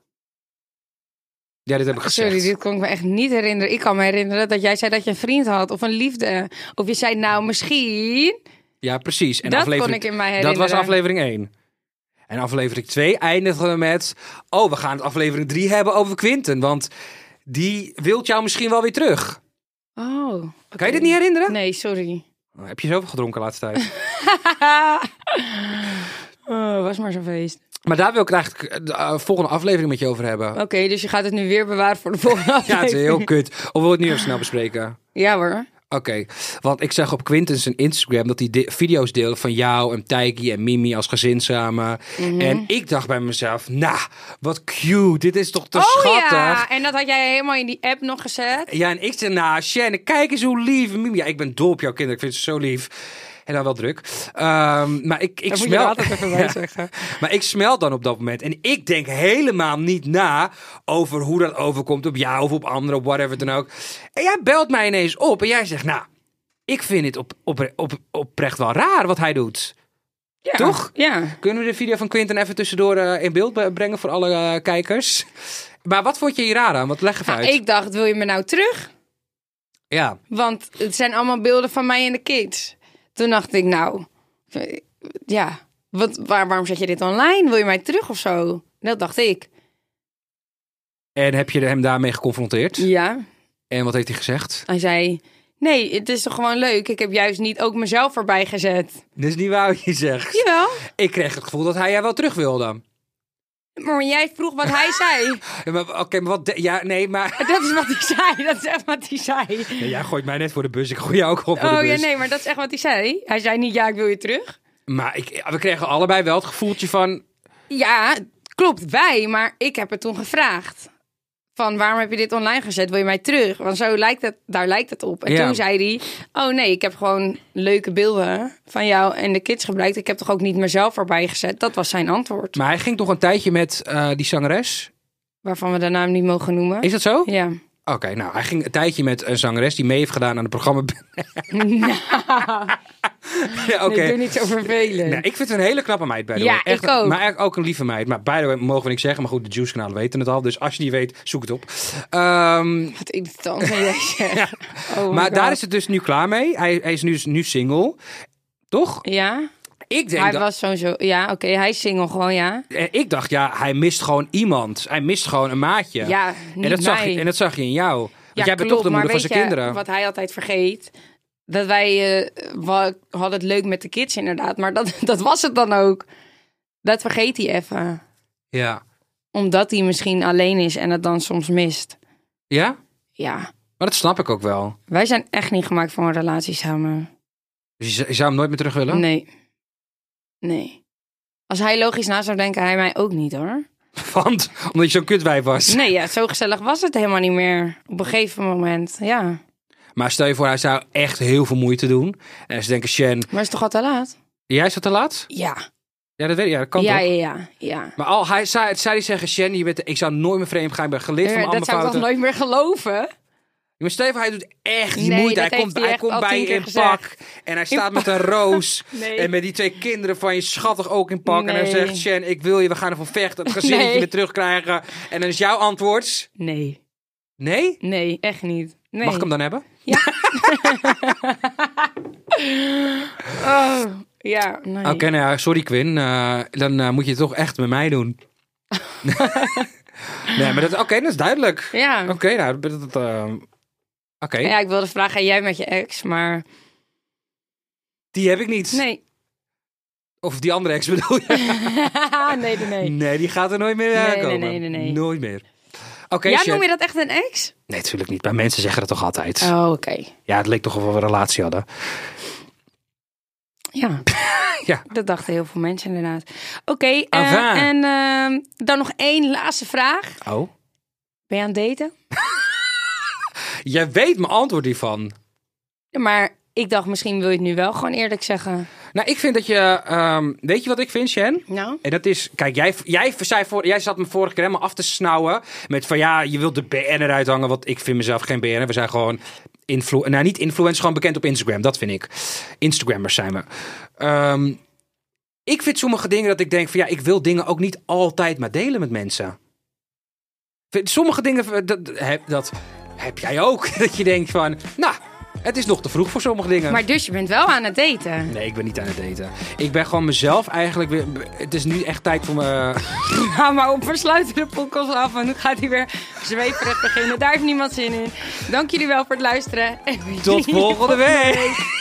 [SPEAKER 2] Ja, dit heb ik gezegd.
[SPEAKER 3] Ah, Sorry, dit kon ik me echt niet herinneren. Ik kan me herinneren dat jij zei dat je een vriend had of een liefde. Of je zei nou misschien.
[SPEAKER 2] Ja, precies. En
[SPEAKER 3] dat
[SPEAKER 2] aflevering...
[SPEAKER 3] kon ik in mij
[SPEAKER 2] Dat
[SPEAKER 3] herinneren.
[SPEAKER 2] was aflevering 1. En aflevering 2 eindigen we met... Oh, we gaan het aflevering 3 hebben over Quinten. Want die wilt jou misschien wel weer terug.
[SPEAKER 3] Oh.
[SPEAKER 2] Kan je dit niet herinneren?
[SPEAKER 3] Nee,
[SPEAKER 2] <laughs>
[SPEAKER 3] sorry.
[SPEAKER 2] Oh, Heb je zoveel gedronken de laatste
[SPEAKER 3] <laughs>
[SPEAKER 2] tijd?
[SPEAKER 3] oh, was maar zo'n feest.
[SPEAKER 2] maar daar wil ik het eigenlijk de eh, volgende aflevering met je over hebben.
[SPEAKER 3] Oké, dus je gaat het nu weer bewaren voor de
[SPEAKER 2] <laughs>
[SPEAKER 3] volgende
[SPEAKER 2] Ja, het is
[SPEAKER 3] aflevering.
[SPEAKER 2] heel kut. Of wil je het nu even snel bespreken?
[SPEAKER 3] Ja hoor.
[SPEAKER 2] Oké, want ik zag op Quinten zijn Instagram dat hij de- video's deelde van jou en Tijki en Mimi als gezin samen.
[SPEAKER 3] Mhm.
[SPEAKER 2] En ik dacht bij mezelf, nou, wat cute. Dit is toch te Oh, schattig.
[SPEAKER 3] Oh, ja, en dat had jij helemaal in die app nog gezet.
[SPEAKER 2] Ja, en ik zei, nou, Shannon, kijk eens hoe lief. Mimi, ja, ik ben dol op jouw kinderen. Ik vind ze zo lief. En dan wel druk. Ehm, maar ik, ik
[SPEAKER 3] Dat moet je er
[SPEAKER 2] smel... <laughs>
[SPEAKER 3] altijd even bij
[SPEAKER 2] Ja.
[SPEAKER 3] zeggen.
[SPEAKER 2] Maar ik smel dan op dat moment. En ik denk helemaal niet na over hoe dat overkomt op jou of op anderen, op whatever dan ook. En jij belt mij ineens op en jij zegt, nou, ik vind het op, op, op, oprecht wel raar wat hij doet.
[SPEAKER 3] Ja.
[SPEAKER 2] Toch?
[SPEAKER 3] Ja.
[SPEAKER 2] Kunnen we de video van Quinten even tussendoor eh, in beeld be- brengen voor alle eh, kijkers? Maar wat vond je hier raar aan? Wat leg even
[SPEAKER 3] Nou,
[SPEAKER 2] uit.
[SPEAKER 3] ik dacht, wil je me nou terug?
[SPEAKER 2] Ja.
[SPEAKER 3] Want het zijn allemaal beelden van mij en de kids. Toen dacht ik, nou, ja, wat, waar, waarom zet je dit online? Wil je mij terug of zo? Dat dacht ik.
[SPEAKER 2] En heb je hem daarmee geconfronteerd?
[SPEAKER 3] Ja.
[SPEAKER 2] En wat heeft hij gezegd?
[SPEAKER 3] Hij zei, nee, het is toch gewoon leuk? Ik heb juist niet ook mezelf erbij gezet.
[SPEAKER 2] Dat is niet waar wat je zegt.
[SPEAKER 3] Jawel.
[SPEAKER 2] Ik kreeg het gevoel dat hij jou wel terug wilde.
[SPEAKER 3] Maar jij vroeg wat hij
[SPEAKER 2] <laughs>
[SPEAKER 3] zei.
[SPEAKER 2] Ja, maar Oké, maar wat... de- ja, nee, maar...
[SPEAKER 3] Dat is wat hij zei. Dat is echt wat hij zei.
[SPEAKER 2] Nee, jij gooit mij net voor de bus. Ik gooi jou ook gewoon voor de
[SPEAKER 3] Oh
[SPEAKER 2] bus.
[SPEAKER 3] ja, nee, maar dat is echt wat hij zei. Hij zei niet, ja, ik wil je terug.
[SPEAKER 2] Maar ik, we kregen allebei wel het gevoeltje van...
[SPEAKER 3] Ja, klopt, wij. Maar ik heb het toen gevraagd. Van waarom heb je dit online gezet? Wil je mij terug? Want zo lijkt het, daar lijkt het op. En
[SPEAKER 2] Ja.
[SPEAKER 3] toen zei hij, oh nee, ik heb gewoon leuke beelden van jou en de kids gebruikt. Ik heb toch ook niet mezelf erbij gezet? Dat was zijn antwoord.
[SPEAKER 2] Maar hij ging toch een tijdje met eh, die zangeres?
[SPEAKER 3] Waarvan we de naam niet mogen noemen.
[SPEAKER 2] Is dat zo?
[SPEAKER 3] Ja.
[SPEAKER 2] Oké, nou, hij ging een tijdje met een zangeres die mee heeft gedaan aan het programma. <laughs> ja, oké.
[SPEAKER 3] Ik doe niet zo vervelend.
[SPEAKER 2] Nee, ik vind het een hele knappe meid, by the
[SPEAKER 3] Ja,
[SPEAKER 2] way. Echt,
[SPEAKER 3] ik ook.
[SPEAKER 2] Maar eigenlijk ook een lieve meid. Maar by the way, mogen we niks zeggen. Maar goed, de Juice-kanalen weten het al. Dus als je die weet, zoek het op. Ehm,
[SPEAKER 3] Wat irritant
[SPEAKER 2] <laughs>
[SPEAKER 3] van jij zegt. Oh my
[SPEAKER 2] maar
[SPEAKER 3] Oh God.
[SPEAKER 2] daar is het dus nu klaar mee. Hij, hij is nu, nu single. Toch?
[SPEAKER 3] Ja,
[SPEAKER 2] Ik denk
[SPEAKER 3] hij
[SPEAKER 2] dat...
[SPEAKER 3] was zo'n zo... Ja, oké, hij is single gewoon, ja.
[SPEAKER 2] Eh, Ik dacht, ja, hij mist gewoon iemand. Hij mist gewoon een maatje.
[SPEAKER 3] Ja,
[SPEAKER 2] en,
[SPEAKER 3] niet
[SPEAKER 2] dat zag
[SPEAKER 3] mij.
[SPEAKER 2] je, en dat zag je in jou. Want jij bent
[SPEAKER 3] klopt,
[SPEAKER 2] toch de
[SPEAKER 3] maar
[SPEAKER 2] moeder van
[SPEAKER 3] weet
[SPEAKER 2] zijn
[SPEAKER 3] je
[SPEAKER 2] kinderen.
[SPEAKER 3] Wat hij altijd vergeet. Dat wij eh, wa- hadden het leuk met de kids, inderdaad. Maar dat, <laughs> dat was het dan ook. Dat vergeet hij even.
[SPEAKER 2] Ja.
[SPEAKER 3] Omdat hij misschien alleen is en het dan soms mist.
[SPEAKER 2] Ja?
[SPEAKER 3] Ja.
[SPEAKER 2] Maar dat snap ik ook wel.
[SPEAKER 3] Wij zijn echt niet gemaakt voor een relatie samen.
[SPEAKER 2] Dus je, je zou hem nooit meer terug willen?
[SPEAKER 3] Nee. Nee. Als hij logisch na zou denken, hij mij ook niet hoor.
[SPEAKER 2] <laughs> Want, omdat je zo'n kutwijf was.
[SPEAKER 3] Nee, ja, zo gezellig was het helemaal niet meer. Op een gegeven moment, ja.
[SPEAKER 2] Maar stel je voor, hij zou echt heel veel moeite doen. En ze denken, Shen,
[SPEAKER 3] Maar is toch al te laat?
[SPEAKER 2] jij is dat te laat?
[SPEAKER 3] Ja.
[SPEAKER 2] Ja, dat weet ik. Ja, dat kan
[SPEAKER 3] ja,
[SPEAKER 2] toch?
[SPEAKER 3] ja, ja, ja.
[SPEAKER 2] Maar al, hij zei, het zei hij zeggen, Shen, je bent, ik zou nooit meer vreemd gaan. Ik ben geleerd van
[SPEAKER 3] Ja,
[SPEAKER 2] mijn
[SPEAKER 3] dat zou ik
[SPEAKER 2] fouten.
[SPEAKER 3] toch nooit meer geloven?
[SPEAKER 2] Maar stel je voor, hij doet echt die
[SPEAKER 3] Nee,
[SPEAKER 2] moeite.
[SPEAKER 3] dat
[SPEAKER 2] Hij
[SPEAKER 3] heeft
[SPEAKER 2] komt,
[SPEAKER 3] hij
[SPEAKER 2] hij
[SPEAKER 3] echt
[SPEAKER 2] komt
[SPEAKER 3] al
[SPEAKER 2] bij
[SPEAKER 3] tien
[SPEAKER 2] je
[SPEAKER 3] keer
[SPEAKER 2] in
[SPEAKER 3] gezegd.
[SPEAKER 2] pak. En hij staat met een roos.
[SPEAKER 3] <laughs> Nee.
[SPEAKER 2] En met die twee kinderen van je schattig ook in pak. En hij
[SPEAKER 3] Nee.
[SPEAKER 2] zegt, Shen, ik wil je, we gaan ervoor vechten. Het gezinnetje
[SPEAKER 3] Nee.
[SPEAKER 2] weer terugkrijgen. En dan is jouw antwoord,
[SPEAKER 3] Nee.
[SPEAKER 2] nee?
[SPEAKER 3] Nee, echt niet. Nee.
[SPEAKER 2] Mag ik hem dan hebben?
[SPEAKER 3] Oh, ja. Nee.
[SPEAKER 2] Oké, nou ja, sorry Quinn. Eh, dan eh, moet je het toch echt met mij
[SPEAKER 3] <laughs>
[SPEAKER 2] doen. nee, maar dat, oké, dat is duidelijk.
[SPEAKER 3] Ja.
[SPEAKER 2] Oké, nou, dat... dat, eh, Oké,
[SPEAKER 3] ja, ik wilde vragen, ga jij met je ex? Maar
[SPEAKER 2] die heb ik niet.
[SPEAKER 3] nee.
[SPEAKER 2] Of die andere ex bedoel je?
[SPEAKER 3] Ah, nee, nee, nee.
[SPEAKER 2] Nee, die gaat er nooit meer
[SPEAKER 3] nee,
[SPEAKER 2] aankomen.
[SPEAKER 3] nee, nee, nee.
[SPEAKER 2] Nooit meer. Oké,
[SPEAKER 3] Ja,
[SPEAKER 2] Sjen-
[SPEAKER 3] noem je dat echt een ex?
[SPEAKER 2] Nee, natuurlijk niet. Maar mensen zeggen dat toch altijd?
[SPEAKER 3] Oh, oké.
[SPEAKER 2] Ja, het leek toch of we een relatie hadden.
[SPEAKER 3] Ja.
[SPEAKER 2] <laughs> Ja.
[SPEAKER 3] <laughs> Dat dachten heel veel mensen inderdaad. Oké, eh,
[SPEAKER 2] Enfin.
[SPEAKER 3] en ehm, dan nog één laatste vraag.
[SPEAKER 2] Oh?
[SPEAKER 3] Ben je aan het daten?
[SPEAKER 2] Jij weet mijn antwoord hiervan.
[SPEAKER 3] Ja, Maar ik dacht, misschien wil je het nu wel gewoon eerlijk zeggen.
[SPEAKER 2] Nou, ik vind dat je... ehm, weet je wat ik vind, Shen?
[SPEAKER 3] Nou?
[SPEAKER 2] En dat is, kijk, jij, jij, zei voor, jij zat me vorige keer helemaal af te snauwen. Met van ja, je wilt de BN eruit hangen. Want ik vind mezelf geen BN. We zijn gewoon. Influ nou, niet influencers, gewoon bekend op Instagram. Dat vind ik. Instagrammers zijn we. Ehm, ik vind sommige dingen dat ik denk van ja, ik wil dingen ook niet altijd maar delen met mensen. Ik vind Sommige dingen, dat, dat, dat heb jij ook. <laughs> Dat je denkt van, nou, het is nog te vroeg voor sommige dingen.
[SPEAKER 3] Maar dus je bent wel aan het daten.
[SPEAKER 2] Nee, ik ben niet aan het daten. Ik ben gewoon mezelf eigenlijk weer. Het is nu echt tijd voor me.
[SPEAKER 3] Ja, maar op we sluiten de podcast af, want nu gaat hij weer zweverig beginnen. Daar heeft niemand zin in. Dank jullie wel voor het luisteren.
[SPEAKER 2] Tot
[SPEAKER 3] <laughs>
[SPEAKER 2] volgende week. <laughs>